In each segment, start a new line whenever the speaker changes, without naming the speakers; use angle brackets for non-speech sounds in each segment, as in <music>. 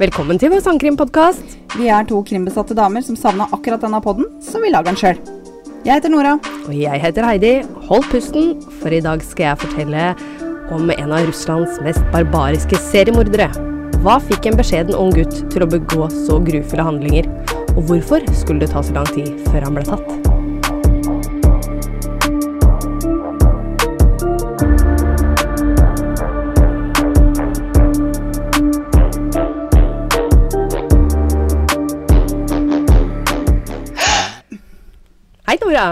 Velkommen til vår sangkrimpodkast.
Vi er to krimbesatte damer som savna akkurat denne podden, så vi lager den sjøl. Jeg heter Nora.
Og jeg heter Heidi. Hold pusten, for i dag skal jeg fortelle om en av Russlands mest barbariske seriemordere. Hva fikk en beskjeden ung gutt til å begå så grufulle handlinger? Og hvorfor skulle det ta så lang tid før han ble tatt? Hei, Nora.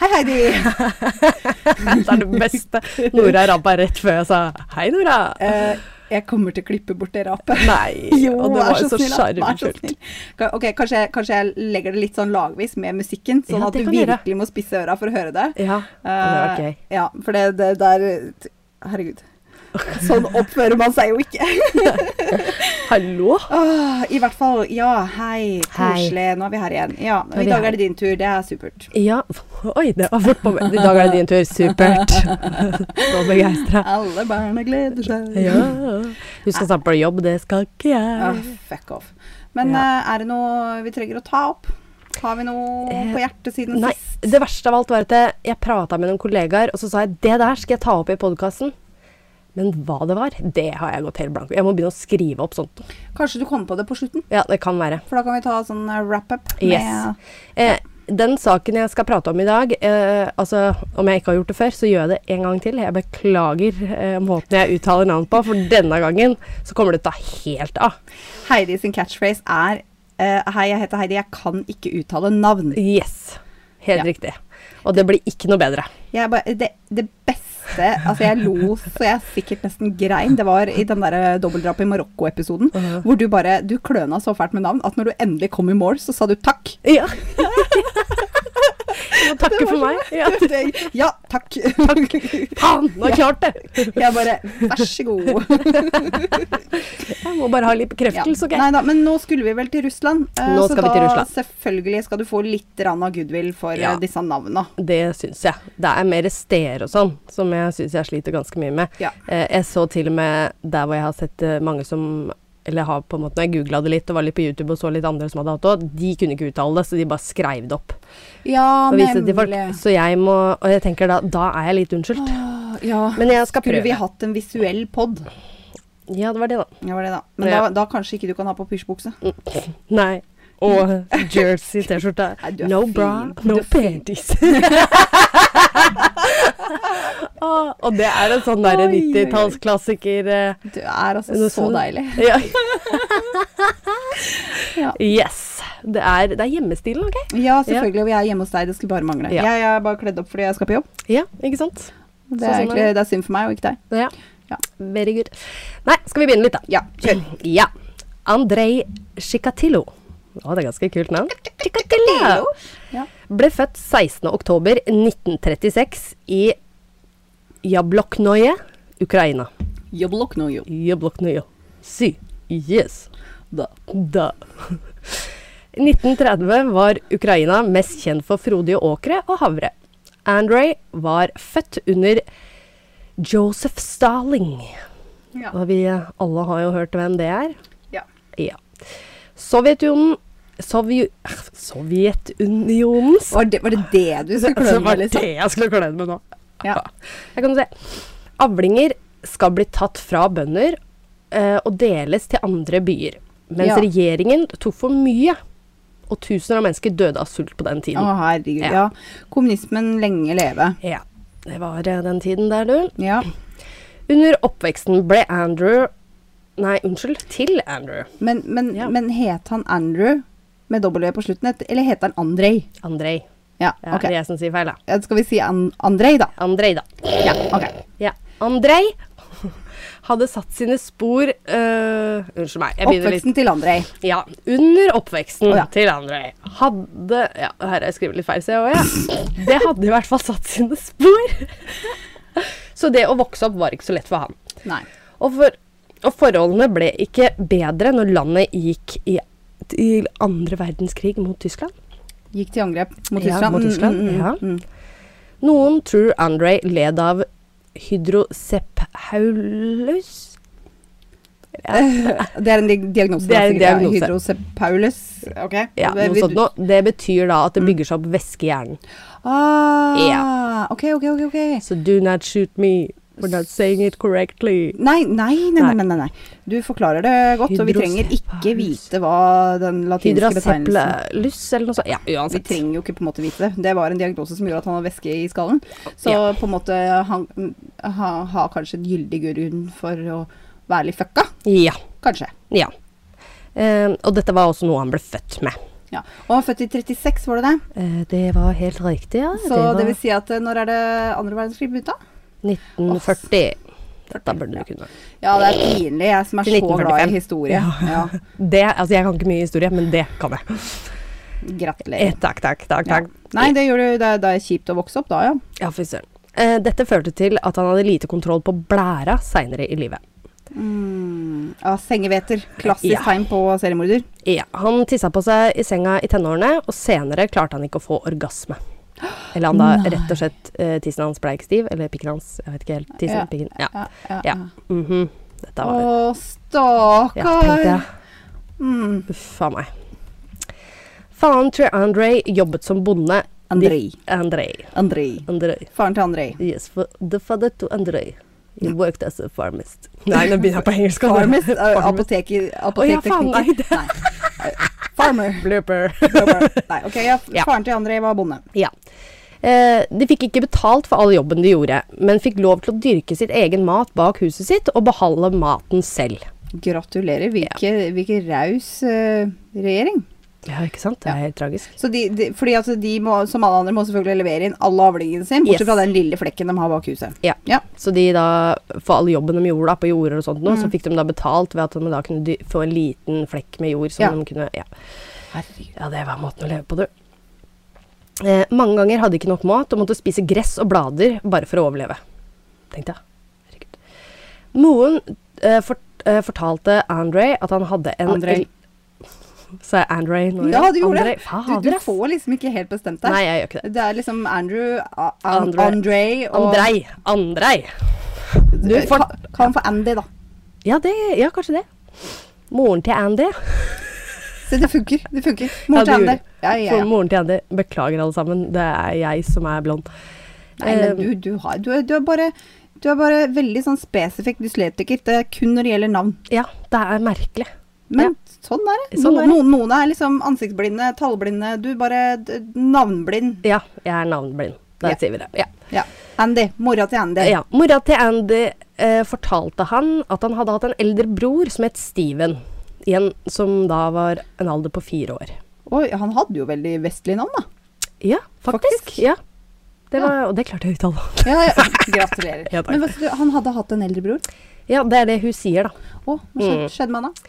Hei, Heidi.
Det er det beste. Nora rabba rett før jeg sa hei, Nora.
<laughs> Eh, jeg kommer til å klippe bort det rapet. <laughs>
Nei, og det
vær
var jo så
snill, da. Vær så
sjarmfullt.
snill. Ka- Ok, kanskje, jeg- kanskje jeg legger det litt sånn lagvis med musikken, sånn
Ja,
at
det
du
kan du gjøre.
virkelig må spisse øra for å høre det.
Ja, det var
Eh,
gøy.
Ja, for det, det der Herregud. Sånn oppfører man seg jo
<laughs>
ikke.
Hallo?
Åh, I hvert fall, ja, hei.
Hei.
Koselig. Nå er vi her igjen. Ja, og
er
I
vi
dag
her.
er det din tur. Det er supert.
Ja, oi, det var fort på meg. I dag er det din tur.
<laughs>
Supert. Så begeistra.
Alle barna gleder seg.
Ja. Du skal snart på jobb, det skal ikke
Ah,
jeg.
fuck off. Men eh, er det noe vi trenger å ta opp? Har vi noe
Eh,
på hjertet siden
Nei,
sist?
det verste av alt var at jeg- jeg prata med noen kollegaer, og så sa jeg det der skal jeg ta opp i podkasten. Men hva det var, det har jeg gått helt blank i. Jeg må begynne å skrive opp sånt.
Kanskje du kommer på det på slutten?
Ja, det kan være.
For da kan vi ta sånn eh, wrap-up. med-
Yes. Eh, den saken jeg skal prate om i dag, eh, altså om jeg ikke har gjort det før, så gjør jeg det en gang til. Jeg beklager eh, måten jeg uttaler navn på, for denne gangen så kommer det til å ta helt av.
Heidi sin catchphrase er eh, Hei, jeg heter Heidi, jeg kan ikke uttale navn.
Yes. Helt
Ja.
riktig. Og det blir ikke noe bedre.
Jeg bare, det, det beste Altså, jeg lo så jeg sikkert nesten grein. Det var i den derre dobbeltdrapet i Marokko-episoden.
Mhm.
Hvor du bare Du kløna så fælt med navn at når du endelig kom i mål, så sa du takk.
<laughs> Ja. Jeg må takke for meg. Ja.
<laughs> ja, takk.
Faen, nå har jeg klart det!
<laughs> Jeg bare Vær så god.
Jeg må bare ha litt
Ja.
bekreftelse, OK?
Nei da, men nå skulle vi vel til Russland. eh,
Nå
så
skal vi til
da
Russland.
selvfølgelig skal du få litt rann av goodwill for eh,
Ja.
disse navna.
Det syns jeg. Det er mer steder og sånn som jeg syns jeg sliter ganske mye med.
Ja.
Eh, jeg så til og med der hvor jeg har sett eh, mange som eller har på en måte, når jeg googla det litt og var litt på YouTube og så litt andre som hadde hatt det òg, de kunne ikke uttale det, så de bare skreiv det opp.
Ja,
Og viste det til folk. Så jeg må Og jeg tenker da, da er jeg litt unnskyldt.
Ja.
Men jeg skal
Skulle vi
prøve.
hatt en visuell pod?
Ja, det var det, da.
Ja, var det da. Men
Ja. Mm.
da, da kanskje ikke du kan ha på pysjbukse.
Nei. Og jersey, T-skjorte.
<laughs> Nei, du er
No
fin.
bra,
Du
no
er fin.
panties. <laughs> ah, og det er en sånn der
Oi, oi, oi.
90-tallsklassiker. eh,
Du er altså
noe
så
sånn.
deilig.
<laughs> Ja.
Ja.
Yes. Det er, det er hjemmestilen, OK?
Ja, selvfølgelig. Og vi er hjemme hos deg, det skulle bare mangle.
Ja.
Jeg er bare kledd opp fordi jeg skal på jobb.
Ja, ikke sant? Så
Det er,
sånn er
egentlig, det er synd for meg og ikke deg.
Ja.
Ja.
Very good. Nei, skal vi begynne litt, da?
Ja, kjør.
Ja. Andrej Chikatilo. Å, det er ganske kult navn. Chikatilo.
Ja.
Ble født 16.10.1936 i Jabloknoje, Ukraina.
Jobb lokk nå, jo.
Jabloknoje. Si. Yes.
Da.
Da. 1930 var Ukraina mest kjent for frodige åkre og havre. Andrej var født under Joseph Stalin.
Ja.
Og vi alle har jo hørt hvem det er.
Ja.
Ja. Sovjetunionen Sovju, Sovjetunionens
Var, det, var det det du skulle
Så
kløne
var
med,
det
liksom?
jeg skulle kløne med nå.
Ja.
Her kan du se. Avlinger skal bli tatt fra bønder eh, og deles til andre byer. Mens
Ja.
regjeringen tok for mye, og tusener av mennesker døde av sult på den
Å,
tiden.
herregud.
Ja.
Ja. Kommunismen lenge leve.
Ja, det var eh, den tiden der, du.
Ja.
Under oppveksten ble Andrew Nei, unnskyld. Til Andrew.
Men, men,
Ja.
men het han Andrew med W på slutten, et- eller heter han Andrej?
Andrej.
Ja,
Ja,
ok.
Det er jeg som sier feil, da.
Ja, Skal vi si an Andrej, da?
Andrej, da.
Ja, ok.
Ja. Andrej <laughs> hadde satt sine spor eh, Unnskyld meg. Jeg begynner litt
Oppveksten til Andrej.
Ja, under oppveksten
Å, ja.
til Andrej hadde Ja, her har jeg skrevet litt feil, ser jeg også, ja. Det hadde i hvert fall satt sine spor. Så det å vokse opp var ikke så lett for han.
Nei.
Og, for, og forholdene ble ikke bedre når landet gikk i, til andre verdenskrig mot Tyskland.
Gikk til angrep mot
Ja,
Tyskland.
mot Tyskland,
Mm, mm, mm,
ja.
mm.
Noen tror Andrej led av hydrocephalus
Det er en di- diagnose.
Det er en
da, sikkert, ja.
diagnose.
Hydrocephalus. Ok.
Ja, noe sånt nå. Det betyr da at det bygger seg opp væske i hjernen.
Ah,
Ja.
OK, OK, OK. ok.
Så do not shoot me for not saying it correctly.
Nei, nei, nei,
Nei.
nei, nei, nei. Du forklarer det godt, og vi trenger ikke
Hydrocephalus.
vite hva den latinske betegnelsen
Hydraseplelus eller noe sånt. Ja,
Vi
uansett.
trenger jo ikke på en måte vite det. Det var en diagnose som gjorde at han har væske i skallen. Så
Ja.
på en måte han mm, ha- har kanskje en gyldig grunn for å være litt fucka.
Ja.
Kanskje.
ja. Eh, og dette var også noe han ble født med.
Ja. Og han er født i 36, var det det?
Eh, det var helt riktig, ja.
Så
var
det, vil si at eh, når er det andre verdenskrig begynte?
1940. Dette burde du kunne.
Ja, det er pinlig. Jeg som er
Til
så glad
1945.
i historie. Ja.
Det, altså, jeg kan ikke mye historie, men det kan jeg. Eh,
Gratulerer.
takk, takk, takk.
Ja.
takk.
Nei, det, gjør du, det, er- det er kjipt å vokse opp da, ja.
Ja, fy søren. Eh, dette førte til at han hadde lite kontroll på blæra seinere i livet.
Mm, ja, sengehveter. Klassisk
Ja.
tegn på seriemorder.
Ja, Han tissa på seg i senga i tenårene, og senere klarte han ikke å få orgasme. Eller han da rett og slett eh, tissen hans ble ikke stiv, eller pikken hans. Jeg vet ikke helt. Tissen,
Ja,
pikken, ja.
Ja, ja,
ja.
ja.
Mhm. Dette var det.
Å,
Ja, tenkte
stakkar.
jeg.
Mm.
Uff a meg. Faren til Andrej jobbet som bonde.
Andrei.
Andrej.
Andrei.
Andrej.
Faren til Andrei. <laughs>
Yes, for the father to Andrej. He worked as a farmist. Nei, nå begynner jeg på engelsk. altså.
Farmers, eh,
Farmist.
apoteker,
Å ja, faen, nei,
apotekteknikker. <laughs> Nei. Eh, Farmer.
Blooper.
Nei, ok, ja,
Ja.
Faren til Andrei var bonde.
Ja. Eh, de fikk ikke betalt for all jobben de gjorde, men fikk lov til å dyrke sitt egen mat bak huset sitt og beholde maten selv.
Gratulerer. Hvilke, hvilke raus eh, regjering.
Ja, ikke sant? Det er helt tragisk.
Så de, de, fordi at de må, som alle andre, må selvfølgelig levere inn alle avlingene sine, bortsett
Yes.
fra den lille flekken de har bak huset.
Ja.
Ja.
Så de da, for all jobben de gjorde da, på jorder og sånt, nå, så fikk de da betalt ved at de da kunne dy- få en liten flekk med jord som
Ja.
de kunne ja.
Herregud.
ja, det var måten å leve på, du. Eh, mange ganger hadde de ikke nok mat og måtte spise gress og blader bare for å overleve. Tenkte jeg. Herregud. Moren eh, fort, eh, fortalte Andre at han hadde en
Andrej.
<laughs> Sa jeg Andre nå?
Ja, du gjorde det. Du,
Fader,
du
ass.
får liksom ikke helt bestemt deg.
Nei, jeg gjør ikke det.
Det er liksom Andrew, A- An
Andre-
Andrei og
Andrej. Andrej. Du får
Ka- Kall ham for Andy, da.
Ja, det, ja, kanskje det. Moren til Andy.
Se, det funker. Det funker.
Ja,
Mor
du
til
gjorde
Andy.
det.
Ja, ja,
For
ja.
moren til Andy. Beklager, alle sammen. Det er jeg som er blond.
Nei,
Ehm.
men du, du, har, du, er, du, er bare, du er bare veldig sånn spesifikk dyslektiker. Det er kun når det gjelder navn.
Ja, det er merkelig.
Men sånn er det.
Sånn er det.
Noen, noen, noen er liksom ansiktsblinde, tallblinde. Du er bare d- navnblind.
Ja, jeg er navnblind. Da
Ja.
sier vi det. Ja.
Ja. Andy. Mora til Andy.
Eh, Ja, Mora til Andy eh, fortalte han at han hadde hatt en eldre bror som het Steven, igjen, som da var en alder på fire år.
Oi, han hadde jo veldig vestlig navn, da.
Ja, faktisk.
Faktisk?
Ja. Det var, Og det klarte jeg å uttale.
Ja,
<laughs>
ja. Gratulerer.
Ja, takk.
men vet du, han hadde hatt en eldre bror.
Ja, det er det hun sier, da.
Å, hva
Mm.
skjedde, skjedde med han da?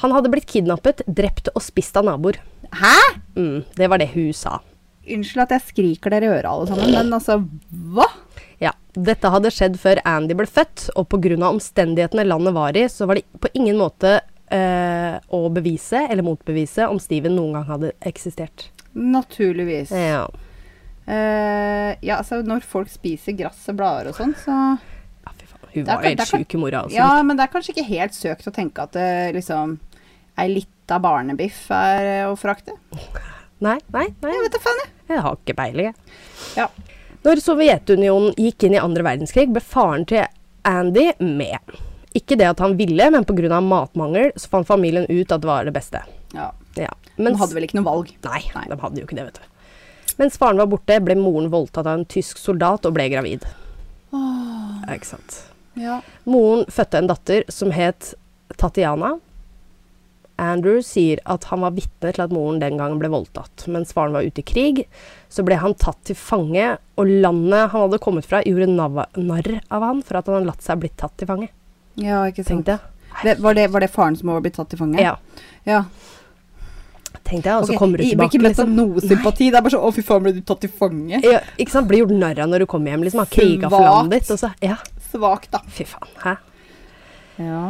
Han hadde blitt kidnappet, drept og spist av naboer.
Hæ?
Mm, det var det hun sa.
Unnskyld at jeg skriker dere i øret alle sammen, men altså, hva?
Ja, Dette hadde skjedd før Andy ble født, og pga. omstendighetene landet var i, så var det på ingen måte eh, å bevise eller motbevise om Steven noen gang hadde eksistert.
Naturligvis.
Ja.
Eh, ja, altså når folk spiser gress og blader og sånn, så
Ja, fy faen. Hun
Der
var
kan- der
helt
kan-
sjuk i mora. Altså.
Ja, men det er kanskje ikke helt søkt å tenke at eh, liksom ei lita barnebiff er eh, å frakte.
Nei, nei, nei.
Jeg vet da faen, jeg.
Jeg har ikke peiling, jeg.
Ja.
Når Sovjetunionen gikk inn i andre verdenskrig, ble faren til Andy med. Ikke det at han ville, men pga. matmangel så fant familien ut at det var det beste.
ja.
Ja.
Men
mens-
hadde vel ikke noe valg.
Nei,
Nei.
de hadde jo ikke det, vet du. Mens faren var borte, ble moren voldtatt av en tysk soldat og ble gravid. Ja, Ikke sant.
Ja.
Moren fødte en datter som het Tatiana. Andrew sier at han var vitne til at moren den gangen ble voldtatt. Mens faren var ute i krig, så ble han tatt til fange, og landet han hadde kommet fra, gjorde nav- narr av han for at han hadde latt seg bli tatt til fange.
ja, ikke sant.
Tenkte jeg.
Det, var, det, var det faren som var blitt tatt til fange?
Ja,
ja.
tenkte jeg, og så
Ok,
kommer du
jeg blir
tilbake,
ikke møtt av
liksom.
noe sympati. Det er bare sånn Å, fy faen, ble du tatt til fange?
Ja, ikke sant? Blir gjort narr av når du kommer hjem, liksom. Har kriga for
Svakt.
landet ditt, og så Ja,
Svakt, da.
fy faen. Hæ?
Ja.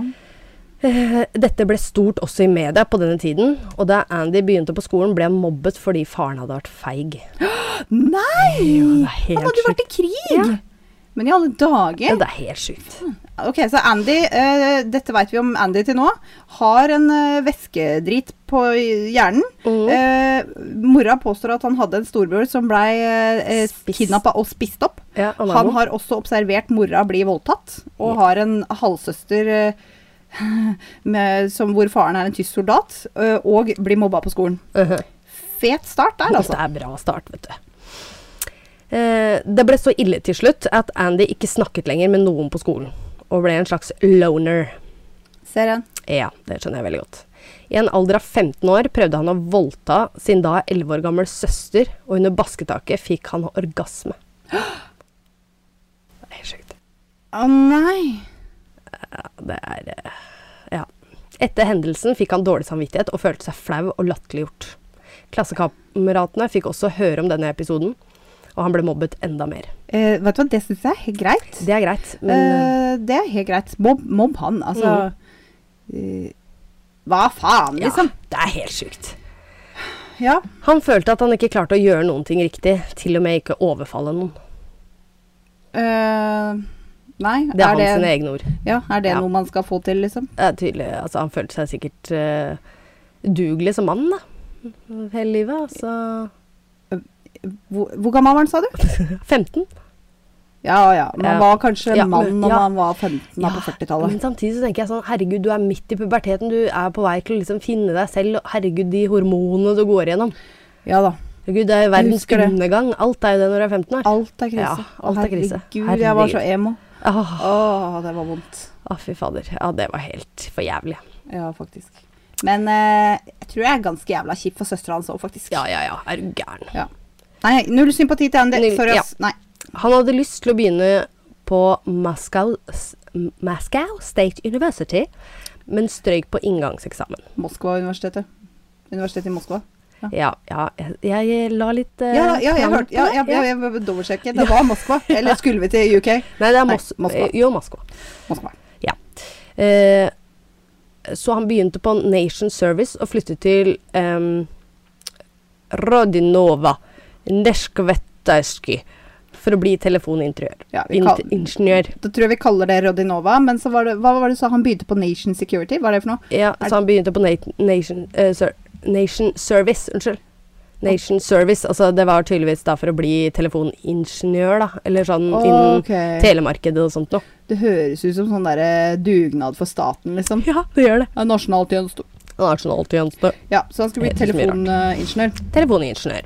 Eh, Dette ble stort også i media på denne tiden, og da Andy begynte på skolen, ble han mobbet fordi faren hadde vært feig.
Nei!
Jo, det er helt
Han hadde jo
sjukt.
vært i krig! Men i alle
Ja,
dager
det er helt sjukt.
Ok, så Andy, eh, dette vet vi om Andy til nå, har en eh, væskedrit på hjernen. Eh, mora påstår at han hadde en storbror som blei eh,
Spist.
kidnappa og spist opp.
Ja, han er
Han
god.
har også observert mora bli voldtatt, og har en halvsøster eh, <laughs> med, som, hvor faren er en tysk soldat, eh, og blir mobba på skolen.
Mhm.
Fet start der, altså.
Det er bra start, vet du. Eh, det ble så ille til slutt at Andy ikke snakket lenger med noen på skolen, og ble en slags loner.
Ser en.
Ja, det skjønner jeg veldig godt. I en alder av 15 år prøvde han å voldta sin da 11 år gamle søster, og under basketaket fikk han orgasme. <gasps> Det er helt sjukt.
Å nei.
Det er eh, Ja. Etter hendelsen fikk han dårlig samvittighet og følte seg flau og latterliggjort. Klassekameratene fikk også høre om denne episoden, og han ble mobbet enda mer.
Eh, vet du hva, det syns jeg er helt greit.
Det er greit, men
Eh, det er helt greit. Mobb, mobb han, altså. Eh, hva
eh, Mm.
faen,
ja,
liksom?
det er helt sjukt.
Ja.
Han følte at han ikke klarte å gjøre noen ting riktig, til og med ikke overfalle noen.
eh, nei,
Det er,
er,
hans
det,
egne ord.
ja, er det
Ja.
noe man skal få til, liksom?
Det er tydelig, altså Han følte seg sikkert eh, dugelig som mann da, hele livet. Altså
Hvor, hvor gammel var han, sa du?
15.
Ja ja, man
Ja.
var kanskje
Ja,
mann
men-
når
ja.
man var 15 da på
Men
40-tallet.
samtidig så tenker jeg sånn Herregud, du er midt i puberteten. Du er på vei til å liksom finne deg selv. og Herregud, de hormonene du går igjennom.
Ja da.
Herregud, det er jo verdens
husker det.
undergang. Alt er jo det når du er 15 år.
Alt er krise.
Ja, alt er krise.
Herregud, jeg var så
Herregud.
emo.
Åh,
Å, det var vondt.
ah, fy fader. Ja, det var helt for jævlig.
Ja, faktisk. Men eh, jeg tror jeg er ganske jævla kjip for søstera hans òg, faktisk.
Ja, ja, ja. Er du gæren.
Ja. Nei, null sympati til Andy.
Null-
Sorry,
ja.
ass. Nei.
Han hadde lyst til å begynne på Moscow, s- Moscow State University, men strøyk på inngangseksamen.
Moskva-universitetet. Universitetet i Moskva.
Ja, ja. Jeg, jeg la litt eh,
Ja, da, ja, jeg
navn
hørte ja,
på
jeg,
det.
jeg, jeg, jeg dobbeltsjekket. Det var Moskva. Eller skulle vi til UK?
Nei, det er
Nei,
Mos
Moskva.
eh, Jo, Moskva.
Moskva.
Ja. Eh, så han begynte på Nation Service og flyttet til um, Rodinova Neskvetajski for å bli telefoninteriør.
Ja, vi
In
kall-
ingeniør.
da tror jeg vi kaller det Rodinova. Men så var det, hva var det du sa? Han begynte på Nation Security? Hva er det for noe?
Ja,
Er-
så han begynte på nat Nation, eh, ser- Nation Service. Unnskyld. Nation Service. Altså, det var tydeligvis da for å bli telefoningeniør, da. Eller sånn innen
Ok.
telemarkedet og sånt noe. <laughs>
Det høres ut som sånn der eh, dugnad for staten, liksom.
Ja, det gjør det.
Ja, Nasjonaltjeneste.
Han er sånn alltidtjeneste.
Ja, så han skulle bli
Det er så mye rart.
telefoningeniør.
telefoningeniør.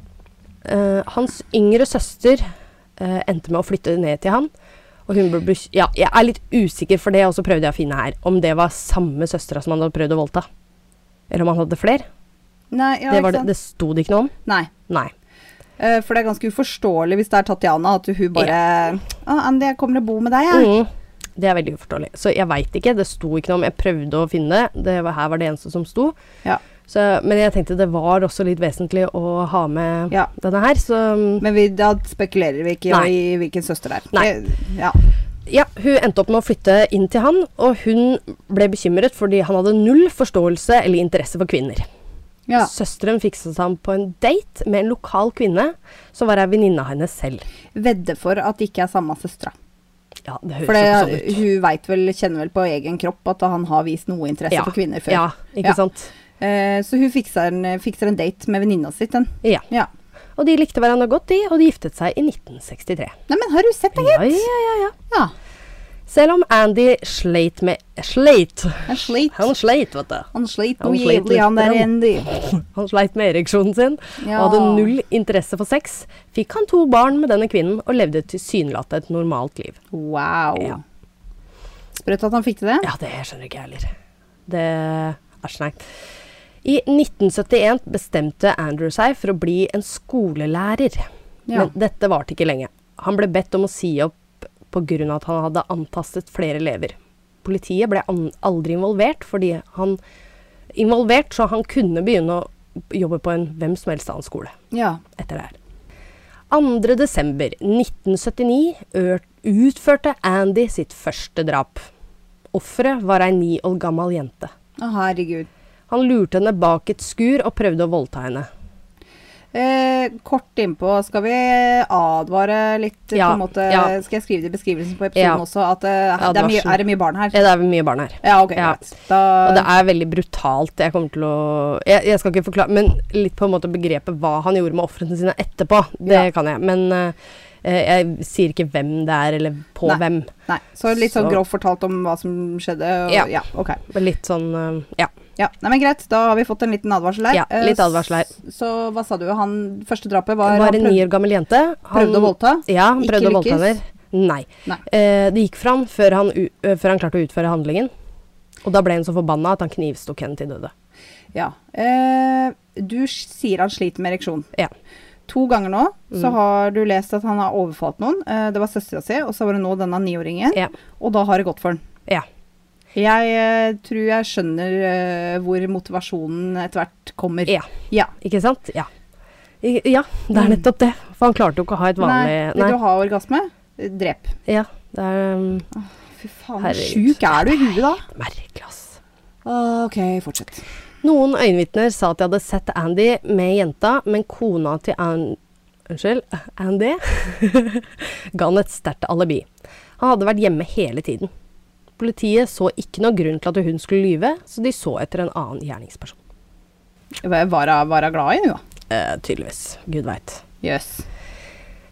Eh, hans yngre søster eh, endte med å flytte ned til han. Og hun ble bes- ja, jeg er litt usikker, for det og så prøvde jeg å finne her om det var samme søstera som han hadde prøvd å voldta. Eller om han hadde flere.
Nei, ja,
det,
ikke
var det,
sant?
det sto det ikke noe om.
Nei.
Nei.
eh, For det er ganske uforståelig hvis det er Tatjana at hun bare Å, Andy, jeg kommer og bor med deg, jeg.
Mm. Det er veldig uforståelig. Så jeg veit ikke. Det sto ikke noe om. Jeg prøvde å finne det. det var, her var det eneste som sto.
Ja.
Så, men jeg tenkte det var også litt vesentlig å ha med
Ja.
denne her, så mm,
Men vi, da spekulerer vi ikke
Nei.
i hvilken søster det er.
Nei.
Det, ja.
Ja, hun endte opp med å flytte inn til han, og hun ble bekymret fordi han hadde null forståelse eller interesse for kvinner.
ja.
Søsteren fikset ham på en date med en lokal kvinne som var ei venninne av henne selv.
vedde for at det ikke er samme søstera.
Ja, det høres
For det,
jo ikke sånn ut.
hun vet vel, kjenner vel på egen kropp at han har vist noe interesse for kvinner før.
Ja, ikke
Ja.
sant?
Eh, så hun fikser en, fikser en date med venninna si. den.
Ja.
Ja.
Og de likte hverandre godt, de, og de giftet seg i 1963.
Nei, men har du sett den,
Ja,
gitt?
ja, ja, ja.
Ja.
Selv om Andy sleit med Sleit!
Han sleit.
Han sleit, vet du.
Han sleit
Han
noe
sleit
jævlig, han
litt
der
med den.
Andy.
Han sleit med ereksjonen sin
Ja.
og hadde null interesse for sex. Fikk han to barn med denne kvinnen og levde tilsynelatende et normalt liv.
Wow.
Ja.
Sprøtt at han fikk til det.
Ja, det skjønner ikke jeg heller. Det Æsj, nei. I 1971 bestemte Andrew seg for å bli en skolelærer.
Ja.
Men dette varte ikke lenge. Han ble bedt om å si opp pga. at han hadde antastet flere elever. Politiet ble an aldri involvert, fordi han involvert, så han kunne begynne å jobbe på en hvem som helst annen skole
Ja.
etter det her. 2. desember 1979 ø- utførte Andy sitt første drap. Offeret var ei ni år gammel jente.
Å, herregud.
Han lurte henne bak et skur og prøvde å voldta henne.
Eh, kort innpå, skal vi advare litt
Ja,
på en måte,
ja.
Skal jeg skrive det i beskrivelsen på
Ja.
episoden også, at eh, det er, mye,
Advarsel.
er det mye barn her?
Ja, det er mye barn her.
Ja, ok,
Ja.
greit. Da,
Og det er veldig brutalt. Jeg kommer til å jeg, jeg skal ikke forklare, men litt på en måte begrepet hva han gjorde med ofrene sine etterpå. Det
Ja.
kan jeg. Men eh, jeg sier ikke hvem det er, eller på
Nei.
hvem.
nei, så litt sånn
så-
grovt fortalt om hva som skjedde. Og,
Ja.
ja. ok.
Men litt sånn eh, Ja.
Ja, nei, men Greit, da har vi fått en liten advarsel her.
Ja, litt
Eh,
advarsel her.
s- Så hva sa du? Han første drapet var,
Det var
han
en ni år gammel jente. Han-
prøvde å voldta?
Ja, han
Ikke
prøvde å voldta
lykkes?
henne. Nei.
Nei.
Eh, det gikk for han før han, u eh, før han klarte å utføre handlingen. Og da ble hun så forbanna at han knivstok henne til døde.
Ja. Eh, du s- sier han sliter med ereksjon.
Ja.
To ganger nå så
Mm.
har du lest at han har overfalt noen. Eh, det var søstera si, og så var det nå denne niåringen.
Ja.
Og da har det gått for han.
Ja.
Jeg eh, tror jeg skjønner eh, hvor motivasjonen etter hvert kommer.
Ja.
Ja.
Ikke sant? Ja. I, ja, det er nettopp det. For han klarte jo ikke å ha et vanlig
Mm. Nei, vil du ha orgasme? Eh, Drep.
Ja, det er um,
Fy faen, hvor
Herregud.
sjuk er du i huet da? Ah,
merkelig, ass.
OK, fortsett.
Noen øyenvitner sa at de hadde sett Andy med jenta, men kona til An Unnskyld, Andy <laughs> ga han et sterkt alibi. Han hadde vært hjemme hele tiden. Politiet så ikke noe grunn til at hun skulle lyve, så de så etter en annen gjerningsperson.
Var hun glad i henne, da?
Eh, tydeligvis. Gud veit.
Jøss.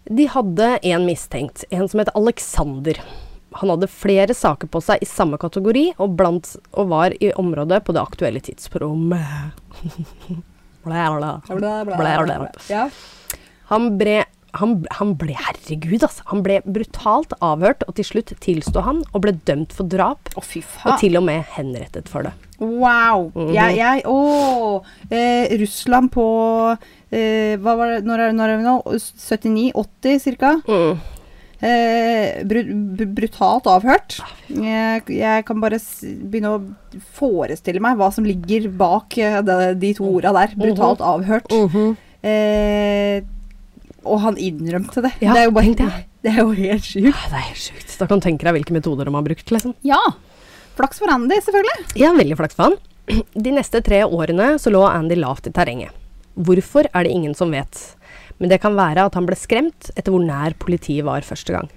De hadde en mistenkt, en som het Alexander. Han hadde flere saker på seg i samme kategori, og, blant, og var i området på det aktuelle tidsrommet. <laughs> Blæ, blæ. Blæ, blæ, blæ.
Ja.
Han ble, han, han ble Herregud, altså. Han ble brutalt avhørt, og til slutt tilsto han og ble dømt for drap.
Å, fy
Og
faen.
til og med henrettet for det.
Wow.
Mhm.
Jeg, jeg Å! Eh, Russland på eh, Hva var det Når er når er vi nå? 79-80 ca.
Mhm.
Eh, bru, br- brutalt avhørt.
Ah,
Jeg, jeg kan bare s begynne å forestille meg hva som ligger bak eh, de, de to orda der.
Mhm.
Brutalt avhørt. eh, og han innrømte det.
Ja,
det, er jo
tenk
bare,
det.
<laughs> det er jo helt sjukt.
Det er helt sjukt. Da kan du tenke deg hvilke metoder de har brukt. liksom.
Ja. Flaks for Andy, selvfølgelig.
Ja, veldig flaks for han. <clears throat> De neste tre årene så lå Andy lavt i terrenget. Hvorfor er det ingen som vet. Men det kan være at han ble skremt etter hvor nær politiet var første gang.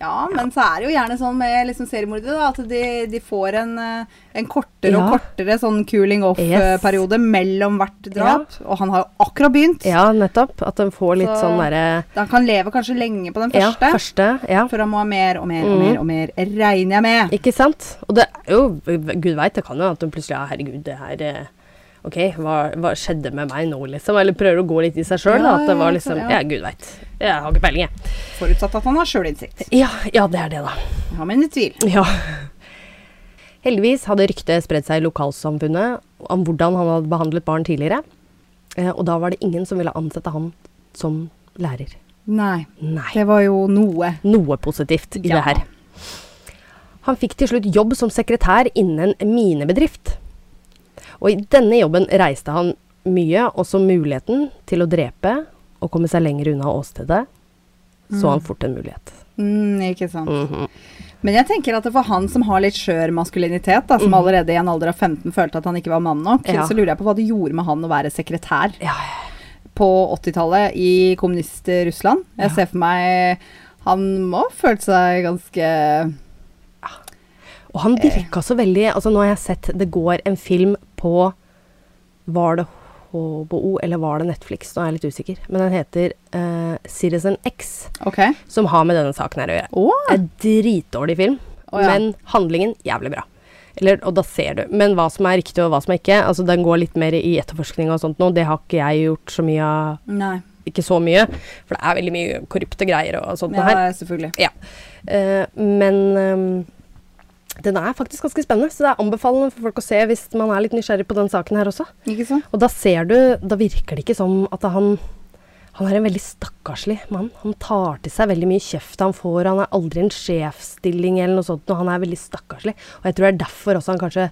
Ja, men så er det jo gjerne sånn med liksom seriemordere da, at de, de får en, eh, en kortere og
Ja.
kortere sånn cooling
Yes.
off-periode mellom hvert drap. Og han har jo akkurat begynt.
Ja, nettopp. At de får litt
Så-
sånn derre
Han kan leve kanskje lenge på den
Ja,
første,
første. Mm. Ja.
for han må ha mer og mer og mer, og mer, regner jeg med.
Ikke sant? Og det er jo Gud veit, det kan jo at hun plutselig Ja, herregud, det her eh, OK, hva, hva skjedde med meg nå, liksom? Eller prøver å gå litt i seg sjøl, da.
Ja,
At det var
ja,
liksom
ja.
Ja, gud veit. Jeg har ikke peiling, jeg.
Forutsatt at han har sjølinnsikt.
Ja, ja, det er det, da.
Ja, men i tvil.
Ja. Heldigvis hadde ryktet spredt seg i lokalsamfunnet om hvordan han hadde behandlet barn tidligere. Eh, og da var det ingen som ville ansette han som lærer.
Nei,
Nei.
det var jo noe.
Noe positivt i
Ja.
det her. Han fikk til slutt jobb som sekretær innen en minebedrift. Og i denne jobben reiste han mye, også muligheten til å drepe og komme seg lenger unna åstedet. Så han fort en mulighet.
Mm, ikke sant.
Mhm.
Men jeg tenker at det for han som har litt skjør maskulinitet, da, som allerede i en alder av 15 følte at han ikke var mann nok,
Mhm. Ja.
så lurer jeg på hva det gjorde med han å være sekretær.
Ja,
på 80-tallet i kommunist-Russland. Jeg
Ja.
ser for meg han må ha følt seg ganske
Og han virka så veldig Altså, nå har jeg sett det går en film på Var det HBO, eller var det Netflix? Nå er jeg litt usikker. Men den heter eh, Citizen X,
OK.
som har med denne saken her å gjøre.
Å!
En dritdårlig film,
Å, ja.
men handlingen jævlig bra. Eller, og da ser du. Men hva som er riktig og hva som er ikke, altså den går litt mer i etterforskning og sånt nå. Det har ikke jeg gjort så mye av.
Nei.
Ikke så mye, for det er veldig mye korrupte greier og sånt
Ja,
her.
selvfølgelig.
Ja. Eh, men ehm, den er faktisk ganske spennende, så det er anbefalende for folk å se hvis man er litt nysgjerrig på den saken her også.
Ikke sant?
Og da ser du, da virker det ikke som at han han er en veldig stakkarslig mann. Han tar til seg veldig mye kjeft han får. Han er aldri i en sjefsstilling eller noe sånt, og han er veldig stakkarslig. Og jeg tror det er derfor også han kanskje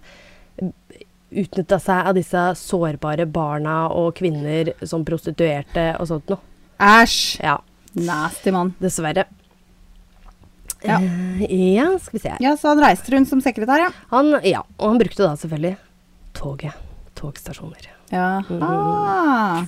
utnytta seg av disse sårbare barna og kvinner som prostituerte og sånt noe.
Æsj!
Ja,
Nasty mann.
dessverre.
Ja.
Eh, ja, skal vi se her.
ja, så han reiste rundt som sekretær, ja.
Han, ja, og han brukte da selvfølgelig toget. Togstasjoner.
ja. Ah.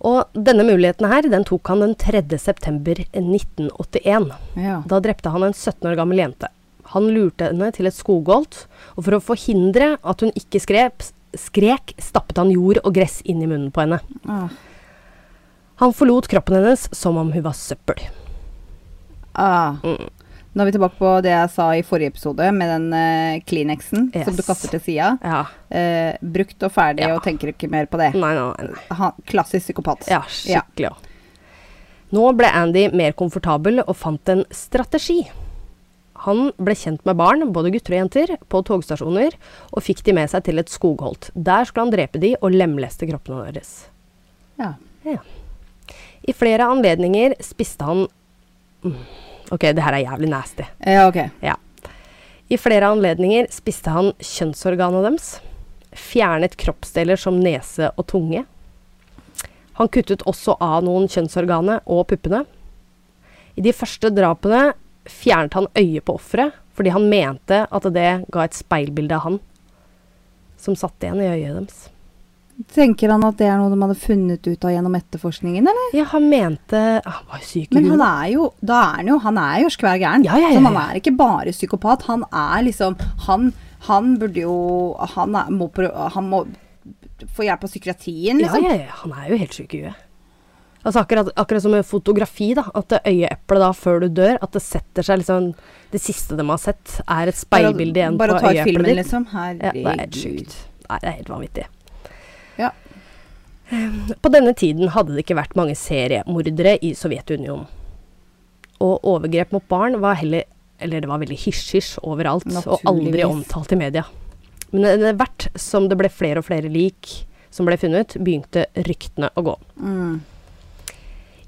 Og denne muligheten her, den tok han den 3. september 1981.
Ja.
Da drepte han en 17 år gammel jente. Han lurte henne til et skogholt, og for å forhindre at hun ikke skrep, skrek, stappet han jord og gress inn i munnen på henne.
Ah.
Han forlot kroppen hennes som om hun var søppel.
Ah. Nå er vi tilbake på det jeg sa i forrige episode, med den eh, Kleenexen som du
Yes.
kaster til sida.
Ja.
Eh, brukt og ferdig,
Ja.
og tenker ikke mer på det.
Nei, nei, nei. nei.
Han, klassisk psykopat.
Ja, skikkelig òg. Nå ble Andy mer komfortabel og fant en strategi. Han ble kjent med barn, både gutter og jenter, på togstasjoner, og fikk de med seg til et skogholt. Der skulle han drepe de og lemleste kroppene deres.
Ja.
Ja. I flere anledninger spiste han Mm. Ok, det her er jævlig nasty.
ja, ok.
Ja. I flere anledninger spiste han kjønnsorganet deres. Fjernet kroppsdeler som nese og tunge. Han kuttet også av noen kjønnsorganet og puppene. I de første drapene fjernet han øyet på offeret fordi han mente at det ga et speilbilde av han som satt igjen i øyet deres.
Tenker han at det er noe de hadde funnet ut av gjennom etterforskningen, eller?
Ja, han mente Han var jo syk i
Men han
huet.
er jo da er han jo, han er jo skvær gæren.
Ja, ja, ja,
Så han
ja.
er ikke bare psykopat. Han er liksom Han, han burde jo han, er, må, prø- han må få hjelp av psykiatrien, liksom.
Ja, ja, ja, han er jo helt syk i huet. Altså akkurat, akkurat som med fotografi, da, at det øyeeplet da før du dør, at det setter seg liksom Det siste de har sett, er et speilbilde igjen på
bare å ta ut
øyeeplet
filmen,
ditt.
liksom.
Ja, det er helt
Herregud.
sykt. Nei, det er helt vanvittig. Ehm,
Ja.
På denne tiden hadde det ikke vært mange seriemordere i Sovjetunionen. Og overgrep mot barn var heller Eller det var veldig hysj-hysj overalt, og aldri
Naturligvis.
omtalt i media. Men e, etter hvert som det ble flere og flere lik som ble funnet, begynte ryktene å gå.
Mm.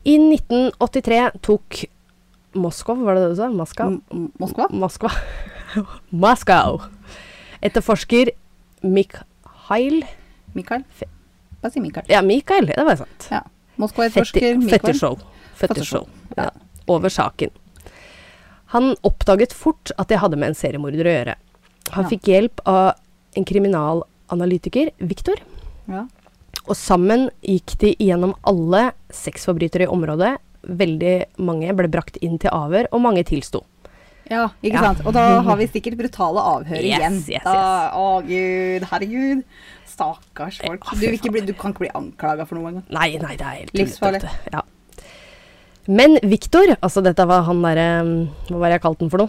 I 1983 tok Moskov, var det det du sa? Moskva?
M- M- Moskva?
Moskva. Moskau. Etterforsker Mikhail
Mikael?
Fe-
Bare si Mikael.
Ja, Mikael, det var sant.
Ja.
Fetter-
Moskva-etterforsker Mikael.
Fettershow. Fettershow.
Fettershow,
Ja. Over saken. Han oppdaget fort at de hadde med en seriemorder å gjøre. Han
Ja.
fikk hjelp av en kriminalanalytiker, Viktor,
Ja.
og sammen gikk de gjennom alle sexforbrytere i området. Veldig mange ble brakt inn til avhør, og mange tilsto.
ja, ikke
Ja.
sant. Og da har vi sikkert brutale avhør
Yes,
igjen.
yes, yes.
Da, å gud, herregud. Stakkars folk.
Ja, fy
Du, vil ikke bli, du kan ikke bli anklaga for noe engang.
Nei, nei, det er helt
Livsfarlig.
tullete, Ja. Men Viktor, altså dette var han derre Hva var det jeg kalte den for noe?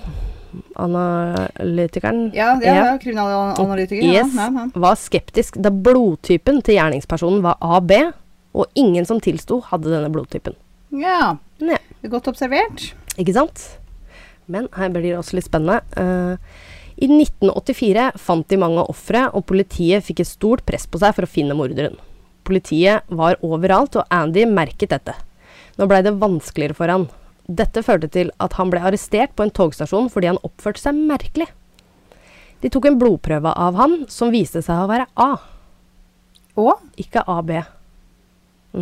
Analytikeren?
Ja, det er
Ja.
jo kriminalanalytiker. Ja,
Yes,
ja, ja.
var skeptisk da blodtypen til gjerningspersonen var AB, og ingen som tilsto, hadde denne blodtypen.
ja.
Ja,
Godt observert.
ikke sant? Men her blir det også litt spennende. Eh, I 1984 fant de mange ofre, og politiet fikk et stort press på seg for å finne morderen. Politiet var overalt, og Andy merket dette. Nå blei det vanskeligere for han. Dette førte til at han ble arrestert på en togstasjon fordi han oppførte seg merkelig. De tok en blodprøve av han, som viste seg å være A.
Og
Ikke AB. Mhm.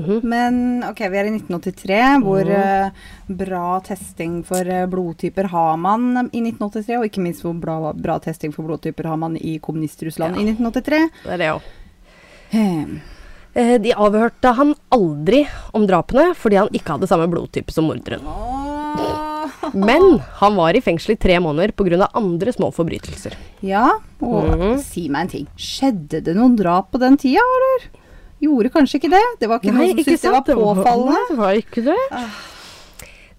Mm-hmm. Men ok, vi er i 1983. Hvor
Mm.
eh, bra testing for eh, blodtyper har man i 1983? Og ikke minst hvor bra, bra testing for blodtyper har man i kommunist-Russland i 1983?
Det er det òg.
Hmm.
Eh, De avhørte han aldri om drapene fordi han ikke hadde samme blodtype som morderen.
Åh.
Men han var i fengsel i tre måneder pga. andre små forbrytelser.
Ja, og
Mhm.
si meg en ting. Skjedde det noen drap på den tida, eller? Gjorde kanskje ikke det? Det var ikke noen som syntes det var påfallende?
Nei, det var ikke det. Ah.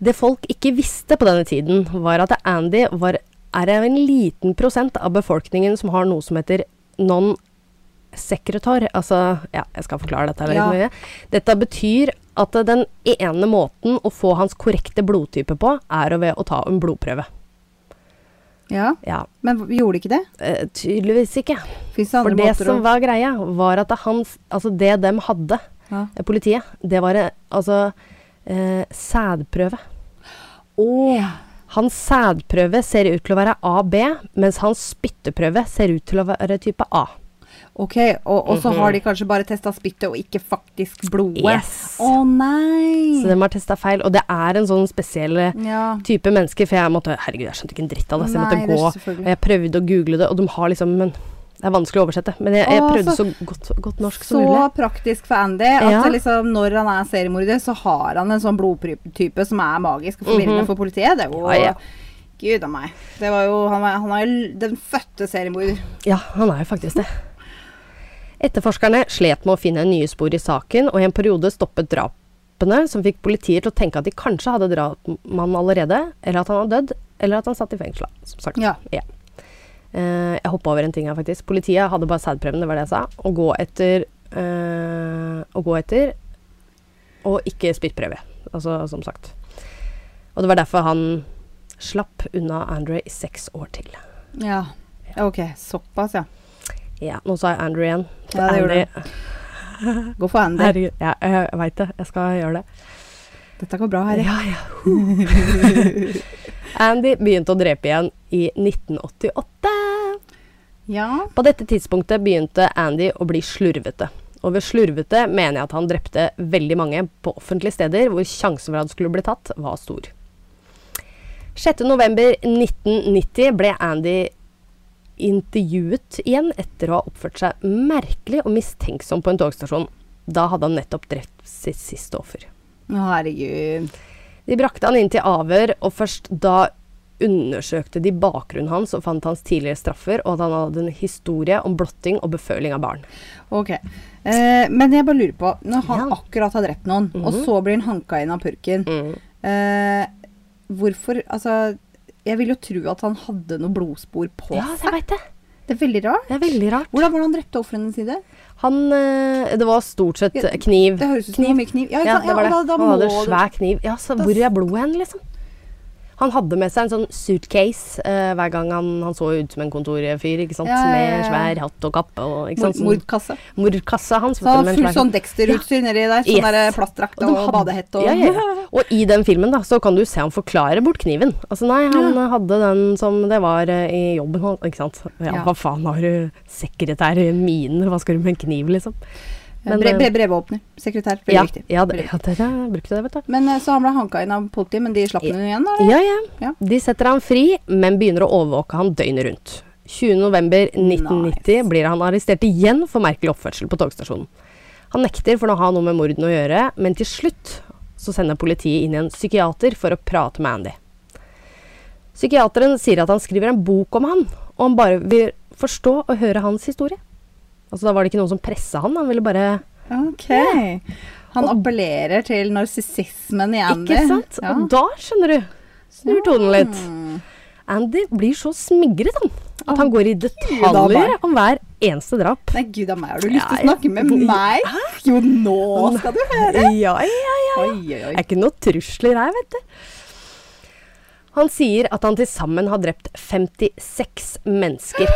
Det folk ikke visste på denne tiden, var at Andy var, er en liten prosent av befolkningen som har noe som heter non sekretær. Altså, ja, jeg skal forklare dette veldig
Ja.
mye. Dette betyr at eh, den ene måten å få hans korrekte blodtype på, er å ved å ta en blodprøve.
Ja,
Ja,
men v- gjorde ikke det?
eh, tydeligvis ikke.
Fins det
For
andre
det
måter å
som var greia, var at det hans, altså det dem hadde,
ja.
eh, politiet, det var eh, altså eh, sædprøve. Hans sædprøve ser ut til å være AB, mens hans spytteprøve ser ut til å være type A.
Ok, og, og så
Mhm.
har de kanskje bare testa spyttet og ikke faktisk blodet.
Yes.
Å nei!
Så dem har testa feil. Og det er en sånn spesiell eh,
Mm. ja.
type mennesker, for jeg måtte Herregud, jeg skjønte ikke en dritt av det. Så jeg
Nei,
måtte
det er
gå,
selvfølgelig.
og jeg prøvde å google det, og de har liksom Men Det er vanskelig å oversette, men jeg, jeg
Å,
prøvde så
så-
godt, godt norsk som
Så
mulig.
praktisk for Andy at
Ja.
det liksom, når han er seriemorder, så har han en sånn blodtype som er magisk og forvirrende for politiet. Det er jo
Mhm. Ja, ja.
Gud a meg. Det var jo, han, var, han var jo den fødte seriemorder.
Ja, han er jo faktisk det. Etterforskerne slet med å finne nye spor i saken, og i en periode stoppet drapene, som fikk politiet til å tenke at de kanskje hadde drapt mannen allerede, eller at han hadde dødd, eller at han satt i fengsel, som sagt.
Ja.
Eh, jeg hoppa over en ting her, faktisk. Politiet hadde bare sædprøven, det var det jeg sa. Å gå etter eh, Å gå etter og ikke spyttprøve, altså, som sagt. Og det var derfor han slapp unna Andre i seks år til.
ja. Ok, såpass, ja.
Ja, nå sa jeg Andre igjen.
Ja, det gjorde
Andre-
Gå for Andy.
Herregud, ja, jeg veit det. Jeg skal gjøre det.
Dette går bra, Harry.
Ja, ja. Andy begynte å drepe igjen i 1988.
Ja.
På dette tidspunktet begynte Andy å bli slurvete. Og ved slurvete mener jeg at han drepte veldig mange på offentlige steder hvor sjansen for at han skulle bli tatt, var stor. 6.11.1990 ble Andy intervjuet igjen etter å ha oppført seg merkelig og mistenksom på en togstasjon. Da hadde han nettopp drept sitt siste offer.
Å, herregud.
De brakte han inn til avhør, og først da undersøkte de bakgrunnen hans og fant hans tidligere straffer, og at han hadde en historie om blotting og beføling av barn.
Ok. Eh, men jeg bare lurer på Når han
Ja. Mhm.
akkurat har drept noen, og så blir han hanka inn av purken eh, Hvorfor Altså, jeg vil jo tro at han hadde noe blodspor på seg.
veit det.
Det er veldig rart.
Det er veldig rart.
Hvordan var det han drepte ofrene sine?
Han eh, Det var stort sett
Ja,
kniv.
Det høres ut som det var mye kniv. Ja, ikke
Ja,
sant?
det var
og
det.
Da, da
Han hadde
må
en
du-
svær kniv. Ja, så hvor er blodet hen, liksom? Han hadde med seg en sånn suitcase eh, hver gang han, han så ut som en kontorfyr, ikke sant?
Ja, ja, ja,
Med
ja.
svær hatt og kappe og ikke
mord-
sant? Sånn-
Mordkasse.
Mordkassa hans.
Så
vet
han hadde
du, med
fullt
en svær-
sånn Dexter-utstyr nedi der. Sånn
Yes.
der plastdrakt
de
og,
hadde-
badehette og
ja, ja, ja. Og i den filmen da, så kan du se han forklare bort kniven. Altså nei, han eh, hadde den som det var eh, i jobben hans, ikke sant. Ja,
Ja.
hva faen har du sekretær i minen, hva skal du med en kniv liksom. Men,
Bre, bre,
eh,
brevåpner. Sekretær. Veldig
ja,
viktig.
ja,
Veldig
det- ja, dere brukte det, vet du.
Men eh, så han ble hanka inn av politiet, men de slapp
Ja.
ham igjen, da? eller?
Ja, ja.
Ja.
De setter han fri, men begynner å overvåke han døgnet rundt. 20.11.1990 blir han arrestert igjen for merkelig oppførsel på togstasjonen. Han nekter for å ha noe med mordene å gjøre, men til slutt så sender politiet inn en psykiater for å prate med Andy. Psykiateren sier at han skriver en bok om han, og han bare vil forstå og høre hans historie. Altså Da var det ikke noen som pressa han, han ville bare
Ok. Han appellerer til narsissismen i Andy.
Ikke sant?
Ja. Mm.
Og da, skjønner du, snur tonen litt. Andy blir så smigret han, at han går i detaljer
meg.
om hver eneste drap.
Nei, gud a meg, har du lyst til
Ja,
å snakke med meg? Jo, nå skal du høre!
Ja, ja, ja.
Oi, oi,
Det
oi.
er ikke noe trusler her, vet du. Han sier at han til sammen har drept 56 mennesker.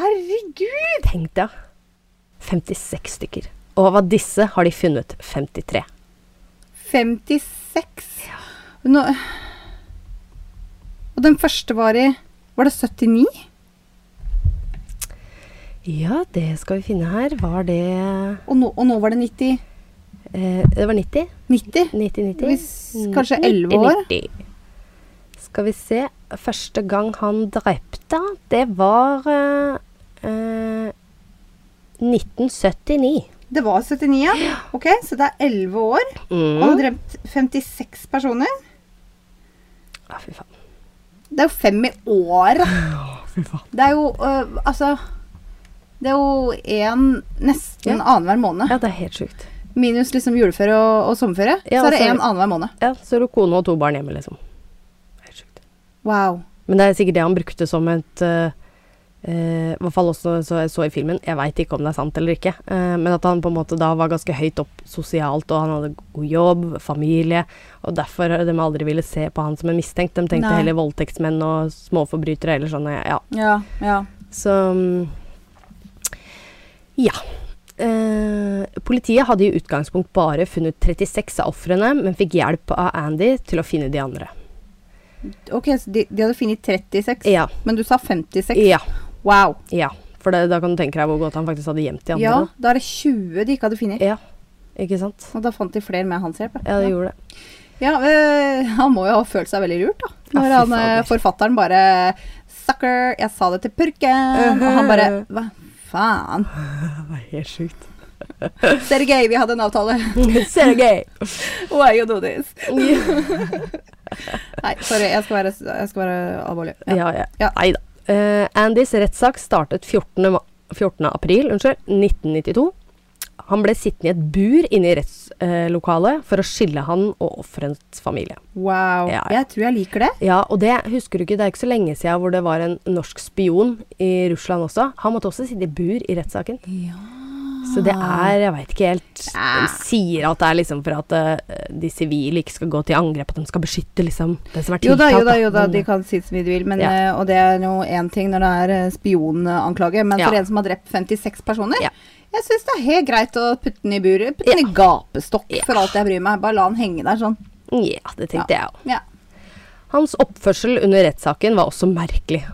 Herregud!
Tenk deg. 56 stykker. Og av disse har de funnet 53.
56. Nå, og den første var i Var det 79?
Ja, det skal vi finne her. Var det
Og nå, og nå var det 90?
eh, Det var 90?
90?
90-90?
Hvis kanskje 11 år?
90. Mm. Skal vi se. Første gang han drepte, det var eh, eh, 1979.
Det var 79, ja. Ok, Så det er 11 år. Og han har
Mm.
drept 56 personer.
Ja, fy faen.
Det er jo fem i året.
fy faen.
Det er jo øh, Altså Det er jo én nesten
Ja.
annenhver måned.
Ja, det er helt sjukt.
Minus liksom juleferie og, og sommerferie.
Ja,
så er det
altså-
én annenhver måned.
Ja, så er du kone og to barn hjemme, liksom. Helt sjukt.
Wow.
Men det er sikkert det han brukte som et eh, eh, I hvert fall også så jeg så i filmen. Jeg veit ikke om det er sant eller ikke. eh, men at han på en måte da var ganske høyt opp sosialt, og han hadde god jobb, familie. Og derfor de aldri ville se på han som en mistenkt. De tenkte
Nei.
heller voldtektsmenn og småforbrytere eller sånne. Ja.
Ja, ja.
Så mm, Ja. Eh, politiet hadde i utgangspunkt bare funnet 36 av ofrene, men fikk hjelp av Andy til å finne de andre.
Ok, så de, de hadde funnet 36,
Ja.
men du sa 56.
ja.
Wow.
Ja, for det, da kan du tenke deg hvor godt han faktisk hadde gjemt de andre.
Ja, da er det 20 de ikke hadde funnet.
Ja, ikke sant?
Og da fant de flere med hans hjelp.
Ja, det gjorde det.
Ja, øh, han må jo ha følt seg veldig lurt, da.
Ja,
Når
fy
han, øh,
fader.
forfatteren bare s- Sucker! Jeg sa det til purken! Og han bare
Uh-huh.
Hva faen?
Det var helt sjukt.
Sergej, vi hadde en avtale.
<laughs> Sergej!
Why you do this?
<laughs>
Nei, sorry. Jeg skal være, jeg skal være alvorlig. Ja.
Ja, ja.
Ja.
Nei da. Eh, Andys rettssak startet 14. ma- 14. april unnskyld, 1992. Han ble sittende i et bur inne i rettslokalet eh, for å skille han og offerets familie.
Wow.
Ja, ja.
Jeg tror jeg liker det.
Ja, og det husker du ikke, det er ikke så lenge siden hvor det var en norsk spion i Russland også. Han måtte også sitte i bur i rettssaken. Så det er, jeg veit ikke helt
Ah.
De sier at det er liksom for at eh, de sivile ikke skal gå til angrep, at de skal beskytte liksom den som er
Ah. Jo
tiltalt.
da, jo da, jo da,
Men-
de kan si så mye de vil, men,
Ja.
eh, og det er jo én ting når det er eh, spionanklage, men for
Ja.
en som har drept 56 personer
Ja.
Jeg syns det er helt greit å putte den i buret. Putte den i gapestokk
Ja.
for alt jeg bryr meg. Bare la den henge der sånn.
Ja, det tenkte jeg òg.
Ja.
Hans oppførsel under rettssaken var også merkelig.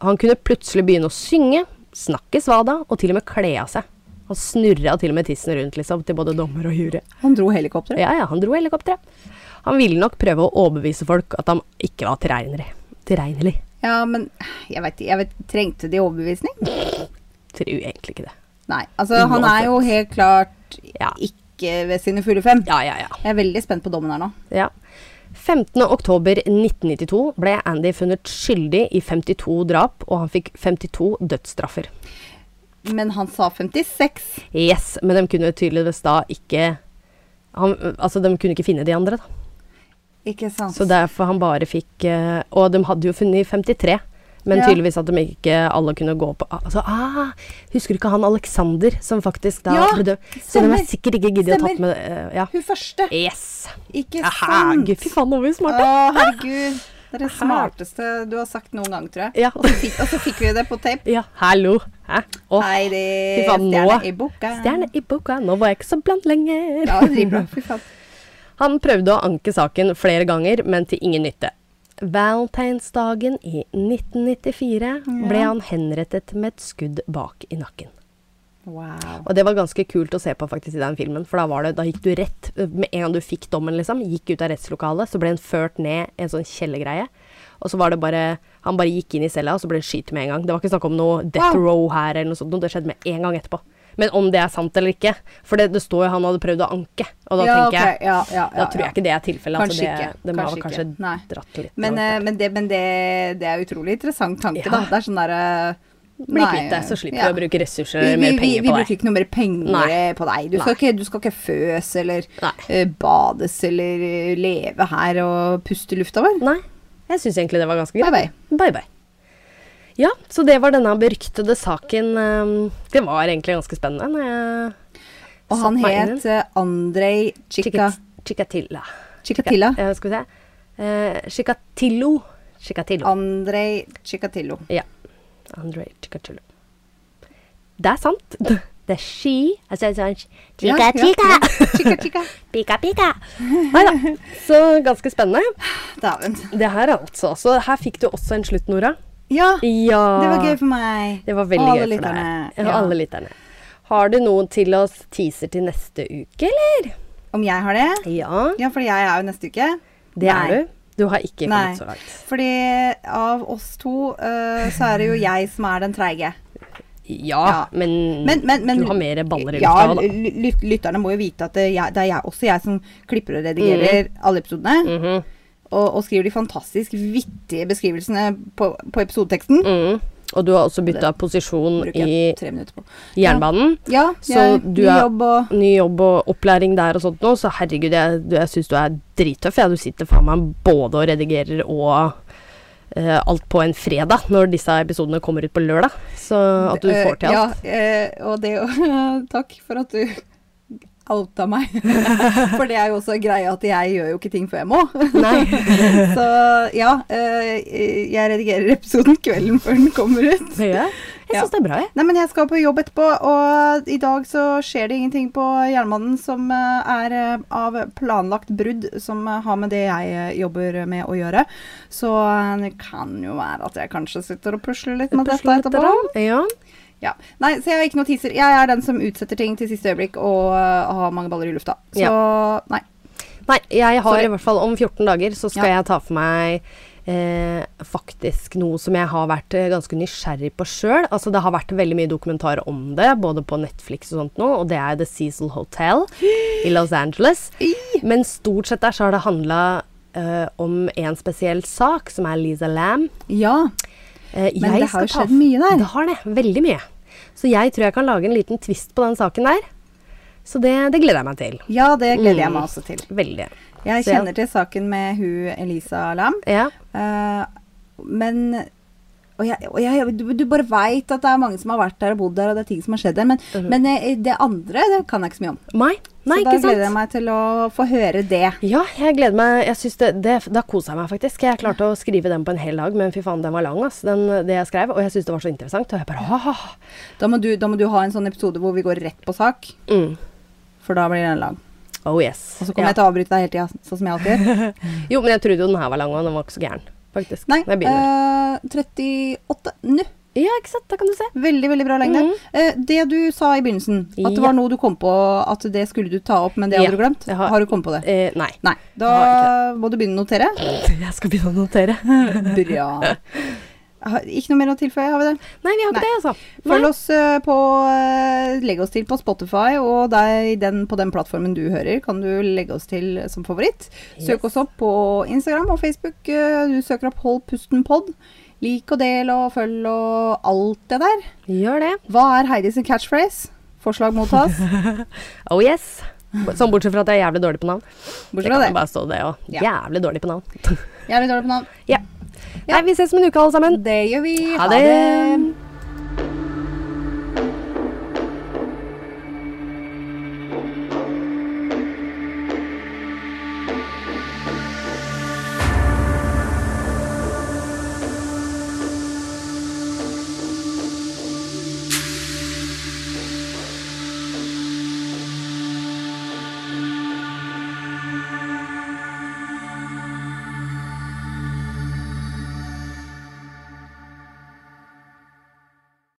Han kunne plutselig begynne å synge, snakke svada og til og med kle av seg. Han snurra til og med tissen rundt liksom, til både dommer og jury.
Han dro helikopteret.
Ja, ja, han dro helikopteret. Han ville nok prøve å overbevise folk at han ikke var tilregnelig. Tilregnelig.
Ja, men jeg vet, jeg vet Trengte de overbevisning?
Tror egentlig ikke det.
Nei. Altså, han er jo helt klart
Ja.
ikke ved sine fulle fem.
Ja, ja, ja.
Jeg er veldig spent på dommen her nå.
ja. 15.10.1992 ble Andy funnet skyldig i 52 drap, og han fikk 52 dødsstraffer.
Men han sa 56.
Yes, men de kunne tydeligvis da ikke han, Altså, de kunne ikke finne de andre, da.
Ikke sant?
Så derfor han bare fikk eh, Og de hadde jo funnet 53, men
Ja.
tydeligvis at de ikke alle kunne gå på Altså, ah, Husker du ikke han Alexander som faktisk da
Ja,
ble død? Så de
stemmer.
har sikkert ikke giddet å tatt
Stemmer.
med eh, Ja.
Hun første.
Yes.
Ikke
Aha,
sant?
gud, fy faen, Ah! nå er vi
Å,
smarte.
herregud. Det er det smarteste du har sagt noen gang, tror jeg.
Ja.
Og så fikk, og så fikk vi det på tape.
Ja, hallo. Hæ? Å,
Heidi,
fy faen, nå
stjerne i boka.
Stjerne i boka. Nå var jeg ikke så blant lenger.
Ja, dritbra. Fy faen.
Han prøvde å anke saken flere ganger, men til ingen nytte. Valentinsdagen i 1994 ble han henrettet med et skudd bak i nakken.
Wow.
Og det var ganske kult å se på faktisk i den filmen, for da, var det, da gikk du rett eh, Med en gang du fikk dommen, liksom, gikk ut av rettslokalet, så ble han ført ned en sånn kjellergreie. Og så var det bare Han bare gikk inn i cella, og så ble han skutt med en gang. Det var ikke snakk om noe death
Wow.
row her eller noe sånt, noe. det skjedde med en gang etterpå. Men om det er sant eller ikke, for det, det står jo han hadde prøvd å anke, og da
ja,
tenker jeg
ok, ja, ja, ja,
da tror jeg ikke det er tilfellet.
Kanskje
altså
ikke,
det, de har
kanskje
vel kanskje
ikke, nei.
dratt litt
Men,
langt, da.
eh, men, det, men det, det er utrolig interessant tanke,
Ja.
da. Det er sånn derre
Bli kvitt deg, så slipper du å bruke ressurser
vi,
eller
vi,
mer
vi,
penger
vi
på
bruker
deg.
ikke noe mer penger eh,
Nei.
på deg. Du skal,
Nei.
ikke, du skal ikke føs eller
Nei.
eh, bades eller eh, leve her og puste lufta vår.
Nei, jeg syns egentlig det var ganske greit.
Bye, bye.
Bye, bye. Ja, så det var denne beryktede saken. ehm, Det var egentlig ganske spennende. når jeg
Og
satte
han
meg inn i
het eh, Andrej Chika,
Chica- Chikatilla.
Chikatilla.
Ja, skal vi se. Eh, Chikatillo. Chikatillo.
Andrej Chikatillo.
Ja. Andre Chikatillo. Det er sant. Det er she. Altså, det er sånn,
Ja,
Chica,
ja,
chica.
ja. Chika, chika.
<laughs> Pika, pika. Nei da. Så ganske spennende.
Dæven.
Det her altså. Så her fikk du også en slutt, Nora.
Ja,
Ja.
det var gøy for meg.
Det var veldig
Og
gøy
alle
for
lytterne.
deg. Ja.
Ja.
Alle lytterne. Har du noen til oss teaser til neste uke, eller?
Om jeg har det?
Ja,
Ja, for jeg er jo neste uke.
det er
Nei.
du. Du har ikke
Nei.
kommet så langt.
Fordi av oss to, eh, så er det jo jeg som er den treige.
Ja,
Ja.
Men,
Men, men, men
du har mer baller i
ja,
lufta. da.
ly- lyt- lytterne må jo vite at det er, jeg, det er jeg, også jeg som klipper og redigerer
Mm.
alle episodene.
Mhm.
og, og skriver de fantastisk vittige beskrivelsene på, på episodeteksten.
Mm. Og du har også bytta posisjon
Bruker
i
jeg tre minutter på.
jernbanen.
Ja,
Så
jeg,
du
ny
er-
jobb og
Ny jobb og opplæring der og sånt nå, så herregud, jeg, du- jeg syns du er drittøff. Ja. Du sitter faen meg både og redigerer og eh, alt på en fredag, når disse episodene kommer ut på lørdag. Så at du
Eh,
får til
Ja,
alt.
eh, og det jo- <laughs> Takk for at du outa meg.
<laughs>
for det er jo også greia at jeg gjør jo ikke ting før jeg må.
<laughs> Nei.
Så ja, eh, jeg redigerer episoden kvelden før den kommer ut.
Ja. Jeg
Ja.
syns det er bra, jeg.
Nei, men jeg skal på jobb etterpå, og i dag så skjer det ingenting på jernbanen som eh, er eh, av planlagt brudd som eh, har med det jeg eh, jobber med å gjøre. Så eh, det kan jo være at jeg kanskje sitter og pusler litt med dette
Pusler litt
etterpå.
da. Ja.
Ja. Nei, så jeg har ikke noe teaser. Jeg er den som utsetter ting til siste øyeblikk og eh, har mange baller i lufta. Så nei.
Nei, jeg har
Sorry.
i hvert fall om 14 dager så skal
Ja.
jeg ta for meg eh, faktisk noe som jeg har vært eh, ganske nysgjerrig på sjøl. Altså, det har vært veldig mye dokumentarer om det, både på Netflix og sånt nå, og det er The Cecil Hotel i Los Angeles. Men stort sett der så har det handla eh, om en spesiell sak, som er Lisa Lam.
Ja.
Eh,
Men
jeg
det har
skal
jo
ta-
skjedd mye der.
Det har det. Veldig mye. Så jeg tror jeg kan lage en liten twist på den saken der. Så det, det gleder jeg meg til.
ja, det gleder jeg
Mm.
meg også til.
Veldig.
Jeg
Så ja.
kjenner til saken med hun Elisa Lam.
Ja.
Eh, men og jeg, og jeg, du, du bare veit at det er mange som har vært der og bodd der, og det er ting som har skjedd der. Men, men eh, det andre det kan jeg ikke så mye om.
Mai? Mhm. Nei,
så da
ikke sant?
gleder jeg meg til å få høre det.
Ja, jeg gleder meg. Jeg synes det, det, da kosa jeg meg faktisk. Jeg klarte å skrive den på en hel dag, men fy faen, den var lang, ass, den, det jeg skrev. Og jeg syntes det var så interessant. Og jeg bare ha-ha.
Da må, du, da må du ha en sånn episode hvor vi går rett på sak,
Mm.
for da blir den lang.
Oh yes.
Og så kommer jeg til å avbryte deg hele tida, sånn som jeg alltid
<laughs>
gjør.
Jo, men jeg trodde jo den her var lang, og den var ikke så gæren, faktisk.
Nei,
Når jeg begynner.
eh, 38 nå.
ja, ikke sant. Da kan du se.
Veldig, veldig bra lengde.
Mhm.
Eh, det du sa i begynnelsen, at det
Ja.
var noe du kom på at det skulle du ta opp, men det hadde
Ja,
du glemt.
jeg har-
Har, du kommet på det?
Eh,
<laughs>
nei.
Nei. Da må du begynne å notere.
Jeg skal begynne å notere.
Bra. Har- Ikke noe mer å tilføye, har vi det?
Nei, vi har ikke
Nei.
det, altså.
Følg oss eh, på eh, Legg oss til på Spotify, og der, i den, på den plattformen du hører, kan du legge oss til som favoritt. Søk oss opp på Instagram og Facebook. eh, Du søker opp Hold pusten pod. Lik og del og følg og alt det der.
Gjør det.
Hva er Heidi sin catchphrase? Forslag mottas. <laughs>
Oh yes. Sånn bortsett fra at jeg er jævlig dårlig på navn.
Bortsett fra
kan jo
det.
bare stå det òg.
Ja.
Jævlig dårlig på navn.
Jeg er litt dårlig på navn.
ja.
Ja.
Nei, vi ses om en uke, alle sammen.
Det gjør vi.
Ha det.